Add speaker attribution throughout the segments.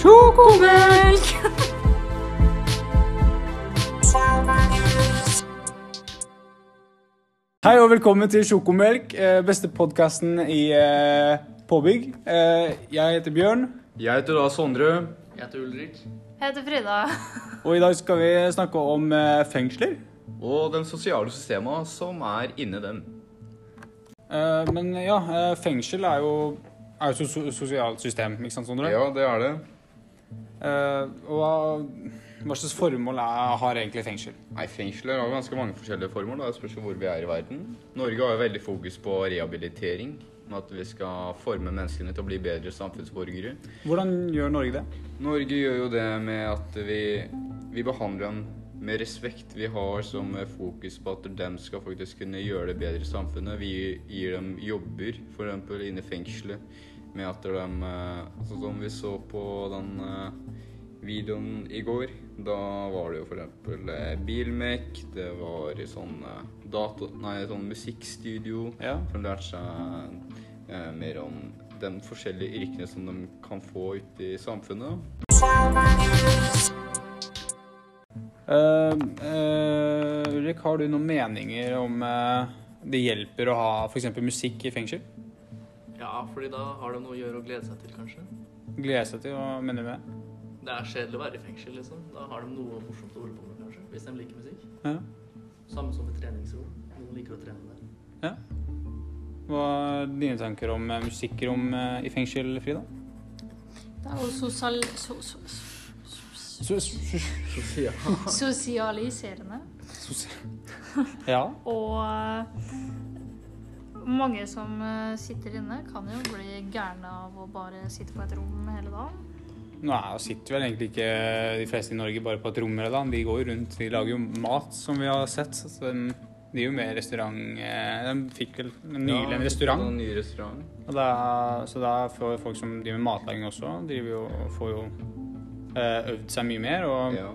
Speaker 1: Sjokomelk!
Speaker 2: Hei og velkommen til Sjokomelk, eh, beste podkasten i eh, påbygg. Eh, Jeg heter Bjørn,
Speaker 3: Jeg heter da Sondre.
Speaker 4: Jeg heter Ulrik.
Speaker 1: Jeg heter Frida.
Speaker 2: og i dag skal vi snakke om eh, fengsler.
Speaker 3: Og den sosiale systema som er inni dem.
Speaker 2: Eh, Men ja, eh, fengsel er jo er jo et so- sosialt system, ikke sant, Sondre?
Speaker 3: det er det.
Speaker 2: Eh, Og hva, hva slags formål er, har egentlig fengsel?
Speaker 3: Nei, Fengsler har jo ganske mange forskjellige formål. da. Det spørs jo hvor vi er i verden. Norge har jo veldig fokus på rehabilitering. Med at vi skal forme menneskene til å bli bedre samfunnsborgere.
Speaker 2: Hvordan gjør Norge det?
Speaker 3: Norge gjør jo det med at vi, vi behandler dem med respekt. Vi har som fokus på at dem skal faktisk kunne gjøre det bedre i samfunnet. Vi gir dem jobber, f.eks. inne i fengselet, med at de eh, Sånn som vi så på den eh, videoen i går. Da var det jo f.eks. bilmek, det var sånn eh, data... Nei, sånn musikkstudio
Speaker 2: Ja.
Speaker 3: som lærte seg eh, mer om de forskjellige yrkene som de kan få ute i samfunnet.
Speaker 2: Eh, eh, Ulrik, har du noen meninger om eh, det hjelper å ha f.eks. musikk i fengsel?
Speaker 4: Ja, fordi da har de noe å gjøre og glede seg til, kanskje.
Speaker 2: Gleder seg til å mene med.
Speaker 4: Det er kjedelig å være i fengsel, liksom. Da har de noe morsomt å holde på med, kanskje. Hvis de liker musikk.
Speaker 2: Ja.
Speaker 4: Samme som i treningsrom. Noen liker å trene der.
Speaker 2: Ja. Hva er dine tanker om eh, musikkrom eh, i fengsel, Frida?
Speaker 1: Det er jo sosial... So, so, so, sosialiserende.
Speaker 2: Ja.
Speaker 1: Og eh, mange som eh, sitter inne, kan jo bli gærne av å bare sitte på et rom hele dagen.
Speaker 2: Nå er- sitter vel egentlig ikke de fleste i Norge bare på et rom eller noe. De går jo rundt, de lager jo mat, som vi har sett. Så de, de er jo med i restaurant eh, De fikk vel nylig en restaurant.
Speaker 3: En ny restaurant.
Speaker 2: Og det er, så det er for folk som driver med matlaging også, driver jo, får jo eh, øvd seg mye mer og
Speaker 3: Ja.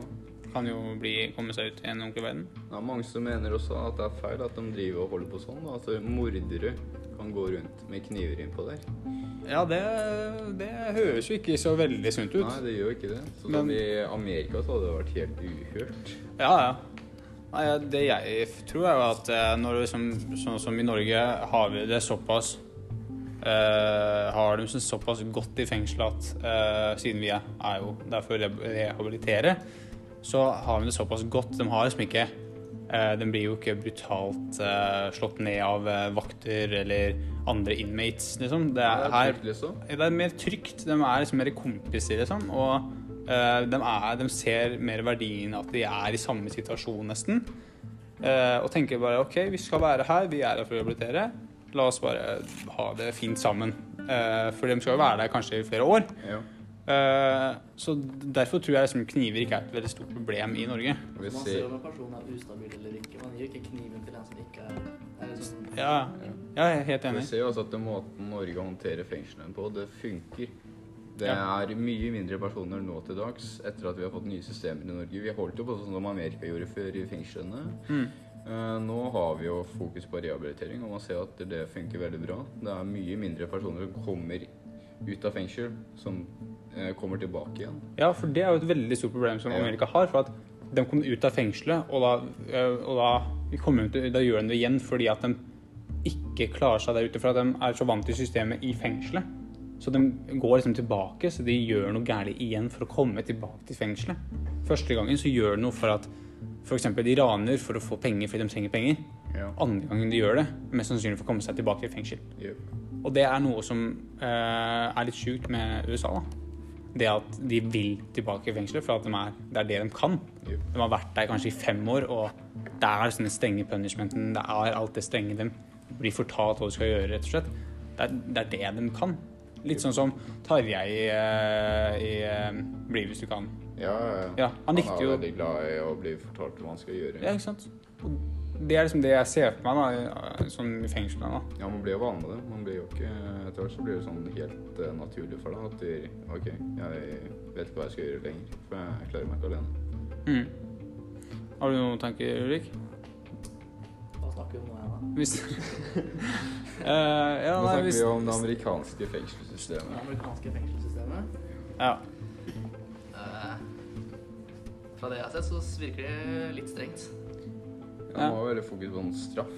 Speaker 2: kan jo bli, komme seg ut i en ordentlig verden.
Speaker 3: Det er mange som mener også at det er feil at de driver og holder på sånn. da. Altså mordere kan gå rundt med kniver innpå der.
Speaker 2: Ja, det, det høres jo ikke så veldig sunt ut.
Speaker 3: Nei, det gjør jo ikke det. Så
Speaker 2: Men-
Speaker 3: som i Amerika så hadde det vært helt uhørt.
Speaker 2: Ja, ja. Nei, ja, det jeg f- tror er jo at eh, når det, som, sånn som i Norge har vi det såpass eh, Har de det såpass godt i fengsel at eh, siden vi er, er jo der for å re- rehabilitere, så har de det såpass godt. De har liksom ikke eh, De blir jo ikke brutalt eh, slått ned av eh, vakter eller andre inmates, liksom. Det er,
Speaker 3: det er
Speaker 2: her
Speaker 3: trygt, liksom.
Speaker 2: det er mer trygt. De er liksom mer kompiser, liksom. Og eh, de, er, de ser mer verdien av at de er i samme situasjon, nesten. Eh, og tenker bare OK, vi skal være her, vi er her for å rehabilitere. La oss bare ha det fint sammen. Eh, for de skal jo være der kanskje i flere år.
Speaker 3: Ja.
Speaker 2: Eh, så derfor tror jeg liksom kniver ikke er et veldig stort problem i Norge.
Speaker 3: Vi
Speaker 4: man ser
Speaker 3: ser,
Speaker 4: om en person er ustabil eller ikke. Man gir ikke kniven til en som ikke er Det er litt sånn
Speaker 2: Ja, jeg er helt
Speaker 3: vi
Speaker 2: enig.
Speaker 3: ser jo altså at den måten Norge håndterer fengslene på, det funker. Det
Speaker 2: Ja.
Speaker 3: er mye mindre personer nå til dags etter at vi har fått nye systemer i Norge. Vi holdt jo på sånn som Amerika gjorde før i fengslene.
Speaker 2: Mm.
Speaker 3: Eh, Nå har vi jo fokus på rehabilitering, og man ser at det funker veldig bra. Det er mye mindre personer som kommer ut av fengsel, som eh, kommer tilbake igjen.
Speaker 2: Ja, for det er jo et veldig stort problem som
Speaker 3: Ja.
Speaker 2: Amerika har. For at de kom ut av fengselet, og da, øh, og da, kommer de til, da gjør de det igjen fordi at de ikke klarer seg der ute. For at de er så vant til systemet i fengselet. Så de går liksom tilbake, så de gjør noe gærent igjen for å komme tilbake til fengselet. Første gangen så gjør de noe for at f.eks. de raner for å få penger fordi de trenger penger.
Speaker 3: Ja.
Speaker 2: Andre gangen de gjør det, mest sannsynlig for å komme seg tilbake til fengsel.
Speaker 3: Yep.
Speaker 2: Og det er noe som eh, er litt sjukt med USA. da. Det at de vil tilbake i fengselet, for at de er, det er det de kan.
Speaker 3: Jo.
Speaker 2: De har vært der kanskje i fem år, og det er sånne strenge punishmenten. Det er alt det strenge de blir fortalt hva de skal gjøre, rett og slett. Det er det, er det de kan. Litt sånn som Tarjei i, eh, i eh, Bli hvis du kan.
Speaker 3: Ja, ja.
Speaker 2: Ja, han likte
Speaker 3: er
Speaker 2: jo-
Speaker 3: veldig glad i å bli fortalt hva han skal gjøre.
Speaker 2: Ja, ikke sant? Og det er liksom det jeg ser for meg da, sånn i fengselet. da.
Speaker 3: Ja, man blir jo vant med det. Man blir jo ikke Etter hvert så blir det sånn helt eh, naturlig for deg at du OK, jeg vet ikke hva jeg skal gjøre lenger, for jeg klarer meg ikke alene.
Speaker 2: Mm. Har du noen tanker, Ulrik?
Speaker 4: Hva snakker vi om nå her, da?
Speaker 2: Hvis Eh, ja,
Speaker 3: Nå
Speaker 2: nei,
Speaker 3: snakker
Speaker 2: hvis
Speaker 3: vi om det amerikanske fengselssystemet.
Speaker 4: Det amerikanske fengselssystemet?
Speaker 2: ja.
Speaker 4: Eh, fra det jeg har sett, så virker det litt strengt.
Speaker 3: Det må være fokus på en straff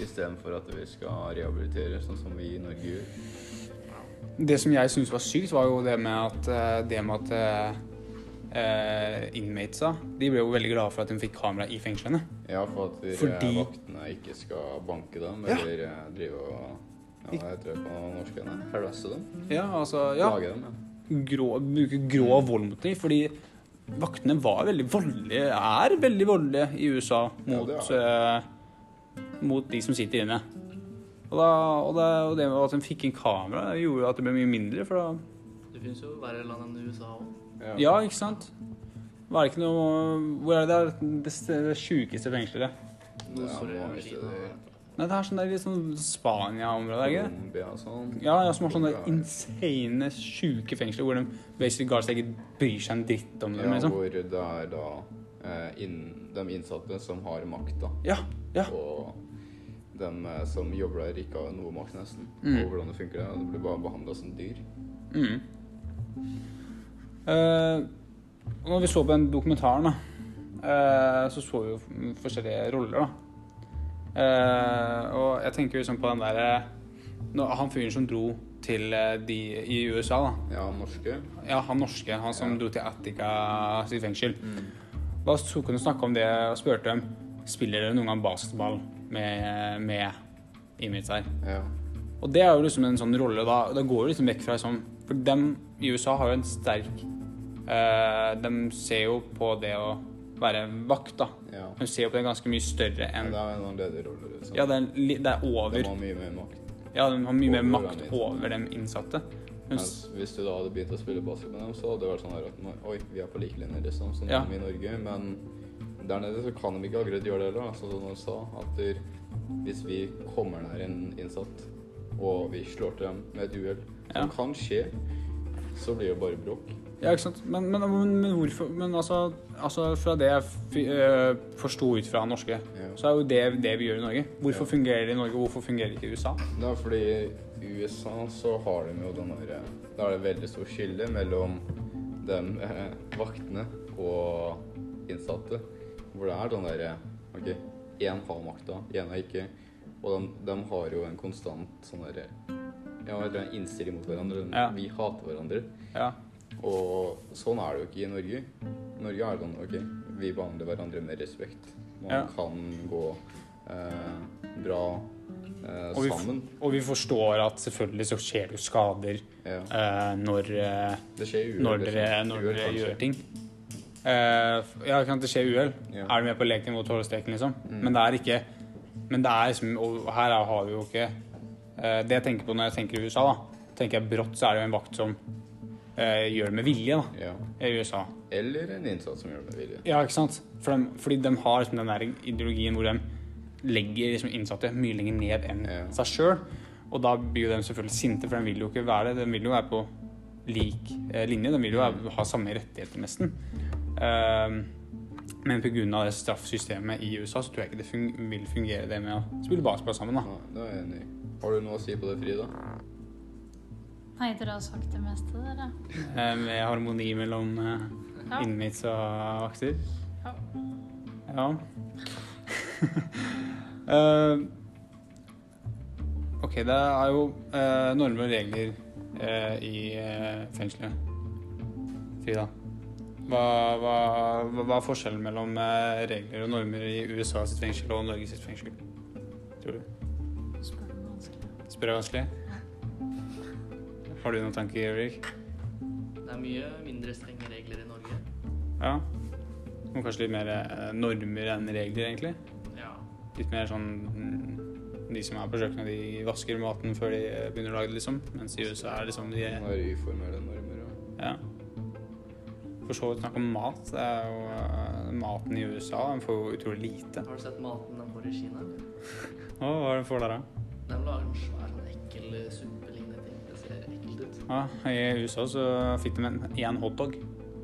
Speaker 3: istedenfor at vi skal rehabilitere, sånn som vi i Norge gjør.
Speaker 2: Det som jeg syntes var sykt, var jo det med at eh, det med at eh, eh, inmatesa De ble jo veldig glade for at de fikk kamera i fengslene.
Speaker 3: Ja, for at vi, eh,
Speaker 2: Fordi-
Speaker 3: vaktene ikke skal banke dem
Speaker 2: Ja.
Speaker 3: eller eh, drive og Ja, hva heter det på norsk? igjen, da? Harasse dem?
Speaker 2: Ja, altså ja,
Speaker 3: Lage dem, ja.
Speaker 2: grå, Bruke grå vold mot dem, fordi vaktene var veldig voldelige, er veldig voldelige i USA
Speaker 3: Ja,
Speaker 2: mot,
Speaker 3: det
Speaker 2: eh, mot de som sitter inne. Og, da, og, da, og det med at de fikk en kamera, gjorde jo at det ble mye mindre, for da
Speaker 4: Det finnes jo verre land enn USA òg.
Speaker 2: Ja, ikke sant? Var det ikke noe Hvor er det det, er det st- det sjukeste fengselet?
Speaker 3: Det er
Speaker 4: Nord-Korea,
Speaker 3: mange
Speaker 4: Kina
Speaker 3: steder.
Speaker 2: Nei, det er sånn der litt sånn Spania-område, er det ikke det?
Speaker 3: Colombia og sånn.
Speaker 2: Ja, ja, som har sånne insane, sjuke fengsler hvor de basically guards ikke bryr seg en dritt om dem,
Speaker 3: Ja,
Speaker 2: liksom.
Speaker 3: hvor det er da eh, inn, de innsatte som har makta.
Speaker 2: Ja, ja.
Speaker 3: Og de eh, som jobber der, ikke har noe makt, nesten.
Speaker 2: Mm.
Speaker 3: Og hvordan det funker der. og De blir bare behandla som dyr.
Speaker 2: Mm. Eh, når vi så på den dokumentaren, da, eh, så så vi jo f- forskjellige roller, da. Eh, og jeg tenker liksom på den derre når- Han fyren som dro til eh, de i USA, da.
Speaker 3: Ja, norske.
Speaker 2: Ja, Mm. han norske, han som
Speaker 3: Ja.
Speaker 2: dro til Attica sitt fengsel. Da tok hun og snakket om det og spurte dem Spiller dere noen gang basketball med, med image her.
Speaker 3: Ja.
Speaker 2: Og det er jo liksom en sånn rolle da, da går det liksom vekk fra sånn For dem i USA har jo en sterk eh, De ser jo på det å være vakt, da.
Speaker 3: ja.
Speaker 2: De ser jo på det ganske mye større
Speaker 3: Men
Speaker 2: enn
Speaker 3: det er noen lederroller. Liksom.
Speaker 2: Ja, det er, li- det er
Speaker 3: De
Speaker 2: over.
Speaker 3: har mye mer makt.
Speaker 2: Ja, de har mye mer
Speaker 3: Over
Speaker 2: makt
Speaker 3: dem, liksom.
Speaker 2: over dem innsatte. Mens,
Speaker 3: Mens hvis du da hadde begynt å spille basket med dem, så hadde det vært sånn her at nå- Oi, vi er på like linje, liksom, som
Speaker 2: Ja.
Speaker 3: de i Norge. Men der nede så kan de ikke akkurat gjøre det heller. da, Sånn som de sa, at der, hvis vi kommer nær en innsatt, og vi slår til dem med et uhell,
Speaker 2: Ja.
Speaker 3: som kan skje, så blir det bare bråk.
Speaker 2: Ja, ikke sant? Men, men, men, men hvorfor Men altså, altså fra det jeg fi- øh, forsto ut fra norske,
Speaker 3: Ja.
Speaker 2: så er jo det det vi gjør i Norge. Hvorfor
Speaker 3: Ja.
Speaker 2: fungerer det i Norge, hvorfor fungerer det ikke i USA?
Speaker 3: Det er fordi i USA så har de jo den derre Da er det veldig stor skille mellom de eh, vaktene og innsatte. Hvor det er den derre OK, én har makta, én har ikke. Og de, de har jo en konstant sånn derre Ja, eller en innstilling mot hverandre. De-
Speaker 2: Ja.
Speaker 3: Vi hater hverandre.
Speaker 2: Ja.
Speaker 3: Og sånn er det jo ikke i Norge. I Norge er det sånn OK, vi behandler hverandre med respekt. Man
Speaker 2: Ja.
Speaker 3: kan gå eh, bra eh,
Speaker 2: Og vi, f-
Speaker 3: sammen.
Speaker 2: og vi forstår at selvfølgelig så skjer det jo skader
Speaker 3: Ja.
Speaker 2: øh, når, øh,
Speaker 3: Det skjer uhell.
Speaker 2: når dere,
Speaker 3: liksom.
Speaker 2: når
Speaker 3: Uhell,
Speaker 2: dere
Speaker 3: kanskje.
Speaker 2: gjør ting. Eh, f- ja, ikke sant, det skjer uhell.
Speaker 3: Ja.
Speaker 2: Er du med på leken mot tålestreken, liksom? Men det er ikke Men det er liksom Og her er- har vi jo ikke eh, Det jeg tenker på når jeg tenker i USA, da, tenker jeg brått så er det jo en vakt som eh, gjør det med vilje, da.
Speaker 3: Ja.
Speaker 2: i USA.
Speaker 3: Eller en innsatt som gjør det med vilje.
Speaker 2: Ja, ikke sant? For dem- fordi de har liksom den der ideologien hvor de legger liksom innsatte mye lenger ned enn
Speaker 3: Ja.
Speaker 2: seg sjøl. Og da blir jo de selvfølgelig sinte, for de vil jo ikke være det. De vil jo være på lik eh, linje. De vil jo være, ha samme rettigheter, nesten. Ehm, men pga. det straffsystemet i USA så tror jeg ikke det fun vil fungere det med å spille basketball sammen. da.
Speaker 3: Ja, det er jeg enig i. Har du noe å si på det, Frida?
Speaker 1: Nei, dere har sagt det meste, dere.
Speaker 2: Eh, med harmoni mellom eh,
Speaker 1: Ja.
Speaker 2: inmates og vakter.
Speaker 1: Ja.
Speaker 2: Ja. Eh, ok, det er jo eh, normer og regler eh, i eh, fengselet. Frida. Hva, hva, hva hva er forskjellen mellom eh, regler og normer i USA sitt fengsel og Norge sitt fengsel? Tror du?
Speaker 1: Spør du meg vanskelig?
Speaker 2: Spør jeg vanskelig? Har du noen tanker, Erik?
Speaker 4: Det er mye mindre strenge regler i Norge.
Speaker 2: Ja? Og kanskje litt mer eh, normer enn regler, egentlig?
Speaker 4: Ja.
Speaker 2: Litt mer sånn mm, De som er på kjøkkenet, de vasker maten før de eh, begynner å lage det, liksom. Mens i USA er det liksom de
Speaker 3: Nå er det uformelle normer. og-
Speaker 2: Ja. For så vidt snakk om mat. Det er jo eh, Maten i USA den får jo utrolig lite.
Speaker 4: Har du sett maten de får i Kina? eller?
Speaker 2: Å, hva er det for der, da?
Speaker 4: De lager en svær sånn ekkel eh, suppelignende ting. Det ser ekkelt ut.
Speaker 2: Ja, I USA så fikk de en én hotdog.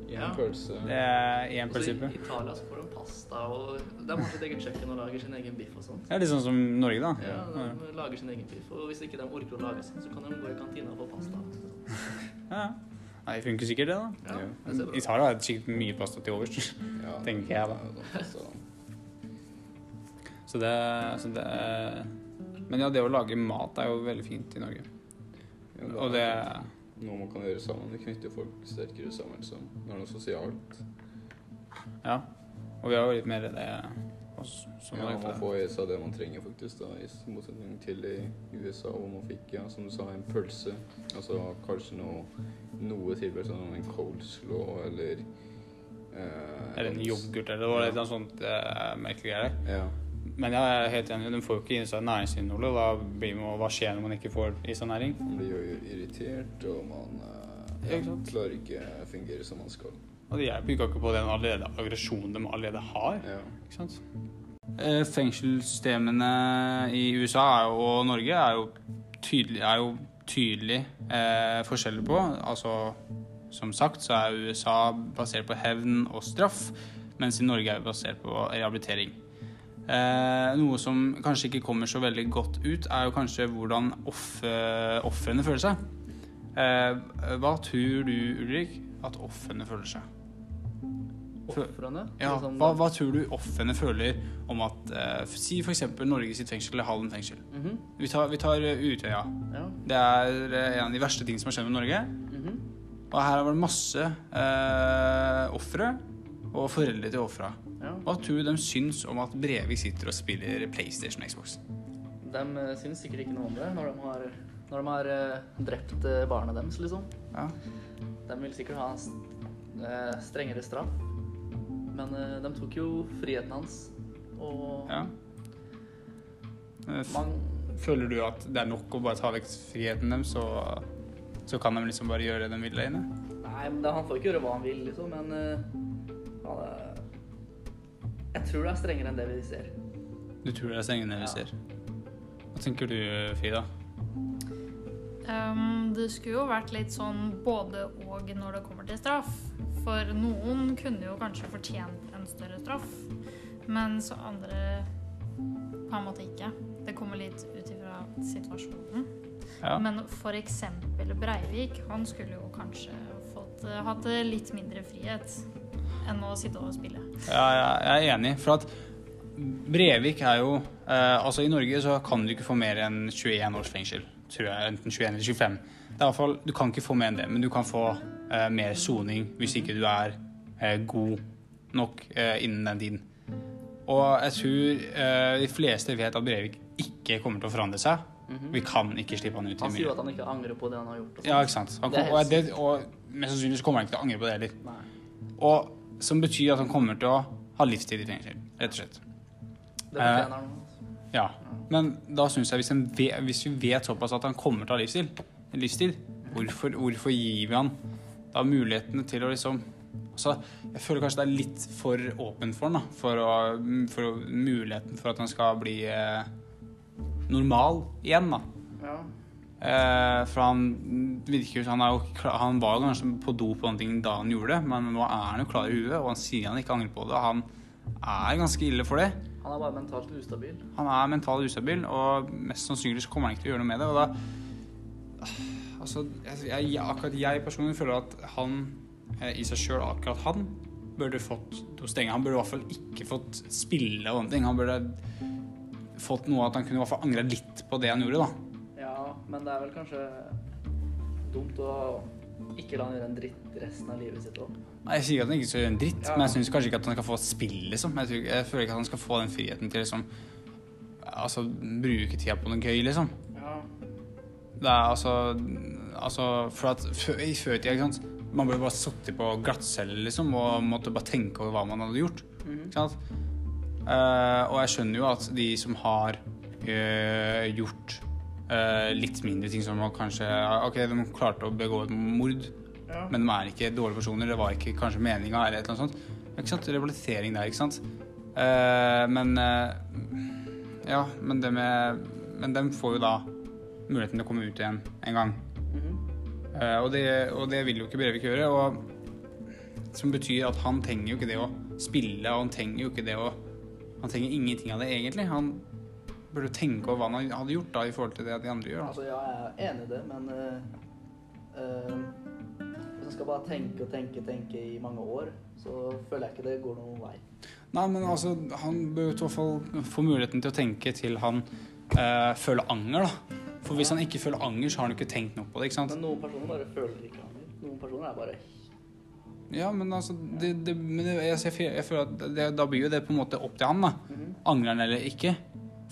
Speaker 3: En
Speaker 4: Ja.
Speaker 3: pølse.
Speaker 2: Det er én
Speaker 4: Også
Speaker 2: prinsipp.
Speaker 4: Altså, I Italia så får de pasta og De har sitt eget kjøkken og lager sin egen biff og sånt.
Speaker 2: Det er litt sånn som Norge, da.
Speaker 4: Ja,
Speaker 2: Ja.
Speaker 4: de lager sin egen biff, og hvis ikke de orker å lage sånn, så kan de gå i kantina og få pasta.
Speaker 2: Ja. Nei, funker sikkert det, da.
Speaker 4: Ja,
Speaker 3: Ja.
Speaker 4: det ser bra
Speaker 2: De
Speaker 4: ut.
Speaker 2: tar da sikkert mye pasta til overs,
Speaker 3: Ja,
Speaker 2: tenker jeg, da.
Speaker 3: ja, så-
Speaker 2: Så det, så det Men ja, det å lage mat er jo veldig fint i Norge.
Speaker 3: ja, da-
Speaker 2: Og det
Speaker 3: noe man kan gjøre sammen. Det knytter folk sterkere sammen. Som det er noe sosialt.
Speaker 2: Ja. Og vi har jo litt mer det hos som
Speaker 3: Ja,
Speaker 2: har
Speaker 3: man
Speaker 2: Sånn det.
Speaker 3: får i seg det man trenger, faktisk. da, I motsetning til i USA, hvor man fikk, ja, som du sa, en pølse. Altså kanskje noe, noe tilbud som en coleslaw eller eh,
Speaker 2: Eller en yoghurt, eller det var et eller annet sånt eh, merkelig greier.
Speaker 3: Ja.
Speaker 2: Men jeg er helt enig, de får jo ikke i seg næringsinnholdet. Hva, blir man, hva skjer når man ikke får i seg næring?
Speaker 3: Man blir jo irritert, og man eh,
Speaker 2: Ja, ikke sant?
Speaker 3: klarer ikke å fungere som man skal.
Speaker 2: Og det hjelper jo ikke akkurat på den allerede aggresjonen de allerede har.
Speaker 3: Ja.
Speaker 2: ikke sant? Eh, Fengselssystemene i USA er jo, og Norge er jo tydelig, er jo tydelig eh, forskjeller på. Altså, som sagt så er USA basert på hevn og straff, mens i Norge er vi basert på rehabilitering. Eh, noe som kanskje ikke kommer så veldig godt ut, er jo kanskje hvordan off- eh, ofrene føler seg. Eh, hva tror du, Ulrik, at ofrene føler seg?
Speaker 4: Ofrene?
Speaker 2: Ja,
Speaker 4: liksom-
Speaker 2: hva, hva tror du ofrene føler om at eh, Si f.eks. Norge sitt fengsel eller Halden fengsel.
Speaker 4: Mhm,
Speaker 2: Vi tar, vi tar eh, Utøya.
Speaker 4: Ja.
Speaker 2: Det er eh, en av de verste ting som har skjedd med Norge.
Speaker 4: mhm,
Speaker 2: Og her var det masse uh, ofre og foreldre til ofra.
Speaker 4: ja.
Speaker 2: Hva tror du de syns om at Brevik sitter og spiller PlayStation og Xbox?
Speaker 4: De eh, syns sikkert ikke noe om det når de har, når de har eh, drept eh, barna deres, liksom.
Speaker 2: Ja.
Speaker 4: De vil sikkert ha s- eh, strengere straff. Men eh, de tok jo friheten hans. Og
Speaker 2: ja. Eh, f-
Speaker 4: man
Speaker 2: Føler du at det er nok å bare ta vekk friheten deres, så, så kan de liksom bare gjøre det de vil der inne?
Speaker 4: Nei, men da, han får ikke gjøre hva han vil, liksom. Men eh, han er Jeg tror det er strengere enn det vi ser.
Speaker 2: Du tror det er strengene vi
Speaker 4: Ja.
Speaker 2: ser. Hva tenker du, Frida?
Speaker 1: Ehm, det skulle jo vært litt sånn både og når det kommer til straff. For noen kunne jo kanskje fortjent en større straff, mens andre på en måte ikke. Det kommer litt ut ifra situasjonen.
Speaker 2: Ja.
Speaker 1: Men for eksempel Breivik, han skulle jo kanskje fått, eh, hatt litt mindre frihet enn å sitte og spille.
Speaker 2: Ja, jeg- jeg er enig. For at Brevik er jo eh, Altså, i Norge så kan du ikke få mer enn 21 års fengsel. Tror jeg. Enten 21 eller 25. Det er i hvert fall, du kan ikke få mer enn det, men du kan få eh, mer soning hvis ikke du er eh, god nok eh, innen den tiden. Og jeg tror eh, de fleste vet at Brevik ikke kommer til å forandre seg. Vi kan ikke slippe han ut i
Speaker 4: Mhm. Han sier jo
Speaker 2: miljøet.
Speaker 4: at han ikke angrer på det han har gjort. altså. Og
Speaker 2: Ja, ikke sant. Han
Speaker 4: Det er
Speaker 2: kom, og,
Speaker 4: helt
Speaker 2: det, og mest sannsynlig så kommer han ikke til å angre på det heller.
Speaker 4: sånt. Nei.
Speaker 2: Og som betyr at han kommer til å ha livstid i fengsel, rett og slett.
Speaker 4: Det
Speaker 2: Eh.
Speaker 4: fortjener han. altså.
Speaker 2: Ja. Men da syns jeg, hvis, en ve- hvis vi vet såpass at han kommer til å ha livsstil, livstid, hvorfor, hvorfor gir vi han da mulighetene til å liksom Altså, jeg føler kanskje det er litt for åpent for han, da. For, å, for å, muligheten for at han skal bli eh, normal igjen, da.
Speaker 4: Ja.
Speaker 2: Eh, for han virker jo som- han, er jo klar, han var jo kanskje på do på den ting da han gjorde det, men nå er han jo klar i huet, og han sier han ikke angrer på det. og Han er ganske ille for det.
Speaker 4: Han er bare mentalt ustabil.
Speaker 2: Han er mentalt ustabil, og mest sannsynlig så kommer han ikke til å gjøre noe med det. Og da Altså, jeg, jeg, akkurat jeg personlig føler at han eh, i seg sjøl, akkurat han, burde fått noe strenge. Han burde i hvert fall ikke fått spille og sånne ting. Han burde fått noe at han kunne i hvert fall angra litt på det han gjorde, da.
Speaker 4: Ja, men det er vel kanskje dumt å ikke la han gjøre en dritt resten av livet sitt òg.
Speaker 2: Nei, Jeg sier ikke at han ikke skal gjøre en dritt,
Speaker 4: Ja.
Speaker 2: men jeg syns kanskje ikke at han skal få spill, liksom. Jeg, tror, ikke- jeg føler ikke at han skal få den friheten til liksom Altså bruke tida på noe gøy, liksom.
Speaker 4: Ja.
Speaker 2: Det er altså Altså, for at før, i førtida, ikke sant Man ble bare satt i på glattcelle, liksom, og måtte bare tenke over hva man hadde gjort.
Speaker 4: Mhm.
Speaker 2: Ikke sant? Eh, og jeg skjønner jo at de som har eh, gjort eh, litt mindre ting, som å kanskje OK, de klarte å begå et mord.
Speaker 4: ja.
Speaker 2: Men de er ikke dårlige personer, det var ikke kanskje meninga eller et eller annet sånt. Ikke sant? Rehabilitering der, ikke sant. Eh, men eh, Ja, men det med Men dem får jo da muligheten til å komme ut igjen en gang.
Speaker 4: Mhm.
Speaker 2: Eh, og, det, og det vil jo ikke Brevik gjøre. Og, som betyr at han trenger jo ikke det å spille, og han trenger jo ikke det å Han trenger ingenting av det, egentlig. Han burde tenke over hva han hadde gjort da i forhold til det de andre gjør. da.
Speaker 4: Altså, ja, jeg er enig i det, men eh, eh, Hvis man skal bare tenke og tenke og tenke i mange år, så føler jeg ikke det går noen vei.
Speaker 2: Nei, men altså, han bør jo i hvert fall få muligheten til å tenke til han eh, føler anger, da. For hvis han ikke føler anger, så har han jo ikke tenkt noe på det, ikke sant?
Speaker 4: Men noen personer bare føler ikke anger. Noen personer er bare
Speaker 2: Ja, men altså det, det, men det, jeg, jeg, jeg føler at det, Da blir jo det på en måte opp til han, da. Angrer han eller ikke?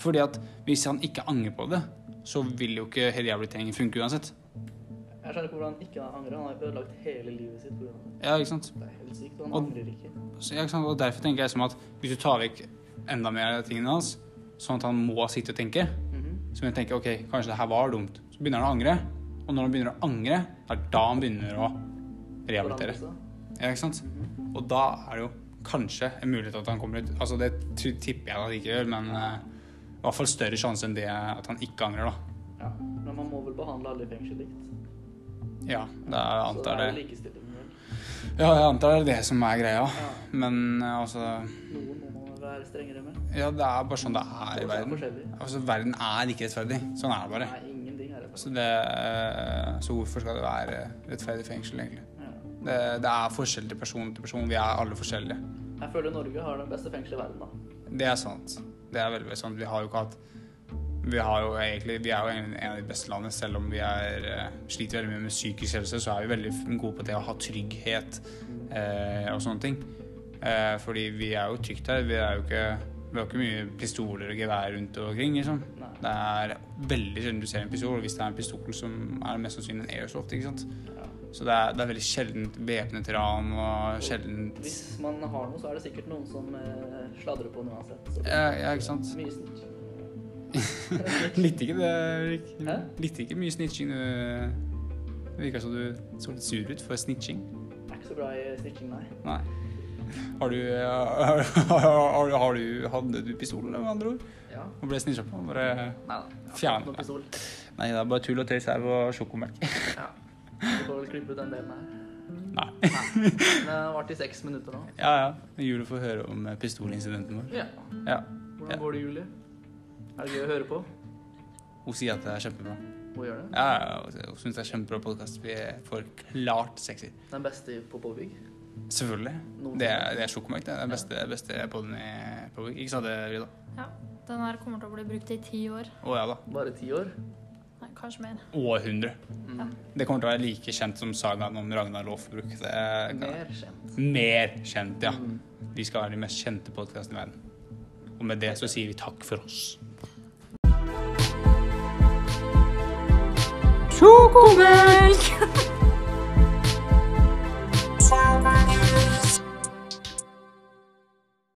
Speaker 2: Fordi at hvis han ikke angrer på det, så vil jo ikke hele rehabiliteringen funke uansett.
Speaker 4: Jeg skjønner ikke hvordan han ikke angrer. Han har jo ødelagt hele livet sitt pga. det.
Speaker 2: Ja, ikke sant?
Speaker 4: Det er helt sykt, og han
Speaker 2: Og-
Speaker 4: angrer ikke.
Speaker 2: Så, ja, ikke sant? Og derfor tenker jeg som at hvis du tar vekk enda mer av tingene hans, sånn at han må sitte og tenke,
Speaker 4: Mhm.
Speaker 2: så vil han tenke ok, kanskje det her var dumt. Så begynner han å angre. Og når han begynner å angre, det er da han begynner å rehabilitere.
Speaker 4: Hvordan også? Mhm.
Speaker 2: Ja, ikke sant? Og da er det jo kanskje en mulighet at han kommer ut. Altså Det t- tipper jeg at han ikke gjør, men eh, i hvert fall større sjanse enn det at han ikke angrer, da.
Speaker 4: Ja. Men man må vel behandle alle i fengsel likt.
Speaker 2: Ja, det er, jeg
Speaker 4: Så det
Speaker 2: antar
Speaker 4: er
Speaker 2: det.
Speaker 4: jo likestilling. vel.
Speaker 2: Ja, jeg antar det er det som er greia.
Speaker 4: Ja.
Speaker 2: Men eh, altså
Speaker 4: Noen må man være strengere med.
Speaker 2: Ja, det er bare sånn det er i
Speaker 4: Folk er
Speaker 2: verden.
Speaker 4: forskjellige.
Speaker 2: Altså, Verden er ikke rettferdig. Sånn er det bare.
Speaker 4: Nei, ingenting er det.
Speaker 2: Så, det, eh, så hvorfor skal det være rettferdig fengsel, egentlig?
Speaker 4: Ja.
Speaker 2: Det, det er forskjell til person til person. Vi er alle forskjellige.
Speaker 4: Jeg føler Norge har det beste fengselet i verden, da.
Speaker 2: Det er sant. Det er veldig, veldig sant. Vi har jo ikke hatt Vi, har jo egentlig, vi er jo en, en av de beste landene, selv om vi er, eh, sliter veldig mye med psykisk helse, så er vi veldig f- gode på det å ha trygghet eh, og sånne ting. Eh, fordi vi er jo trygt her. Vi er jo ikke vi har ikke mye pistoler og gevær rundt omkring. liksom.
Speaker 4: Nei.
Speaker 2: Det er veldig sjelden du ser en pistol, og hvis det er en pistol som er mest sannsynlig en airsoft. ikke sant?
Speaker 4: Ja.
Speaker 2: Så det er, det er veldig sjeldent væpnet ran og sjeldent
Speaker 4: Hvis man har noe, så er det sikkert noen som eh, sladrer på noe uansett. Så det
Speaker 2: ja, ja, ikke sant?
Speaker 4: er mye snilt.
Speaker 2: Likte ikke det, Ulrik?
Speaker 4: Hæ?
Speaker 2: Likte ikke mye snitching. Du det virka som du så litt sur ut for snitching.
Speaker 4: Jeg er ikke så bra i snitching, nei.
Speaker 2: Nei. Har du, eh, har, har, har du Hadde du pistol, med andre ord?
Speaker 4: Ja.
Speaker 2: Og ble snitcha på? Bare
Speaker 4: Nei da. Jeg har
Speaker 2: Fjern.
Speaker 4: fått noe pistol.
Speaker 2: Nei, det er bare tull og tøys her og sjokomelk.
Speaker 4: Ja. Vi får vel klippe ut den delen her.
Speaker 2: Nei.
Speaker 4: Nei. Den har vært i seks minutter nå.
Speaker 2: Ja ja. Julie får høre om eh, pistolincidenten vår.
Speaker 4: Ja.
Speaker 2: Ja. Ja.
Speaker 4: Hvordan går det, Julie? Er det gøy å høre på?
Speaker 2: Hun sier at det er kjempebra.
Speaker 4: Hun gjør det.
Speaker 2: Ja, ja, hun- Hun syns det er kjempebra podkast. Vi er for klart sexy.
Speaker 4: Den beste på Bobby.
Speaker 2: Selvfølgelig.
Speaker 4: Noen-
Speaker 2: Det er, det er sjokomelk. Det er den beste, beste podden i Public. Ikke sant det, Rida?
Speaker 1: Den her kommer til å bli brukt i ti år.
Speaker 2: Å ja da.
Speaker 4: Bare ti år.
Speaker 1: Nei, kanskje mer.
Speaker 2: århundre.
Speaker 4: Mm.
Speaker 2: Det kommer til å være like kjent som sagaen om Ragnar Lofbruk. Det kan-
Speaker 4: Mer kjent.
Speaker 2: Mer kjent, ja.
Speaker 4: Mm.
Speaker 2: Vi skal være de mest kjente podkastene i verden. Og med det så sier vi takk for oss.
Speaker 1: Sjokomelk!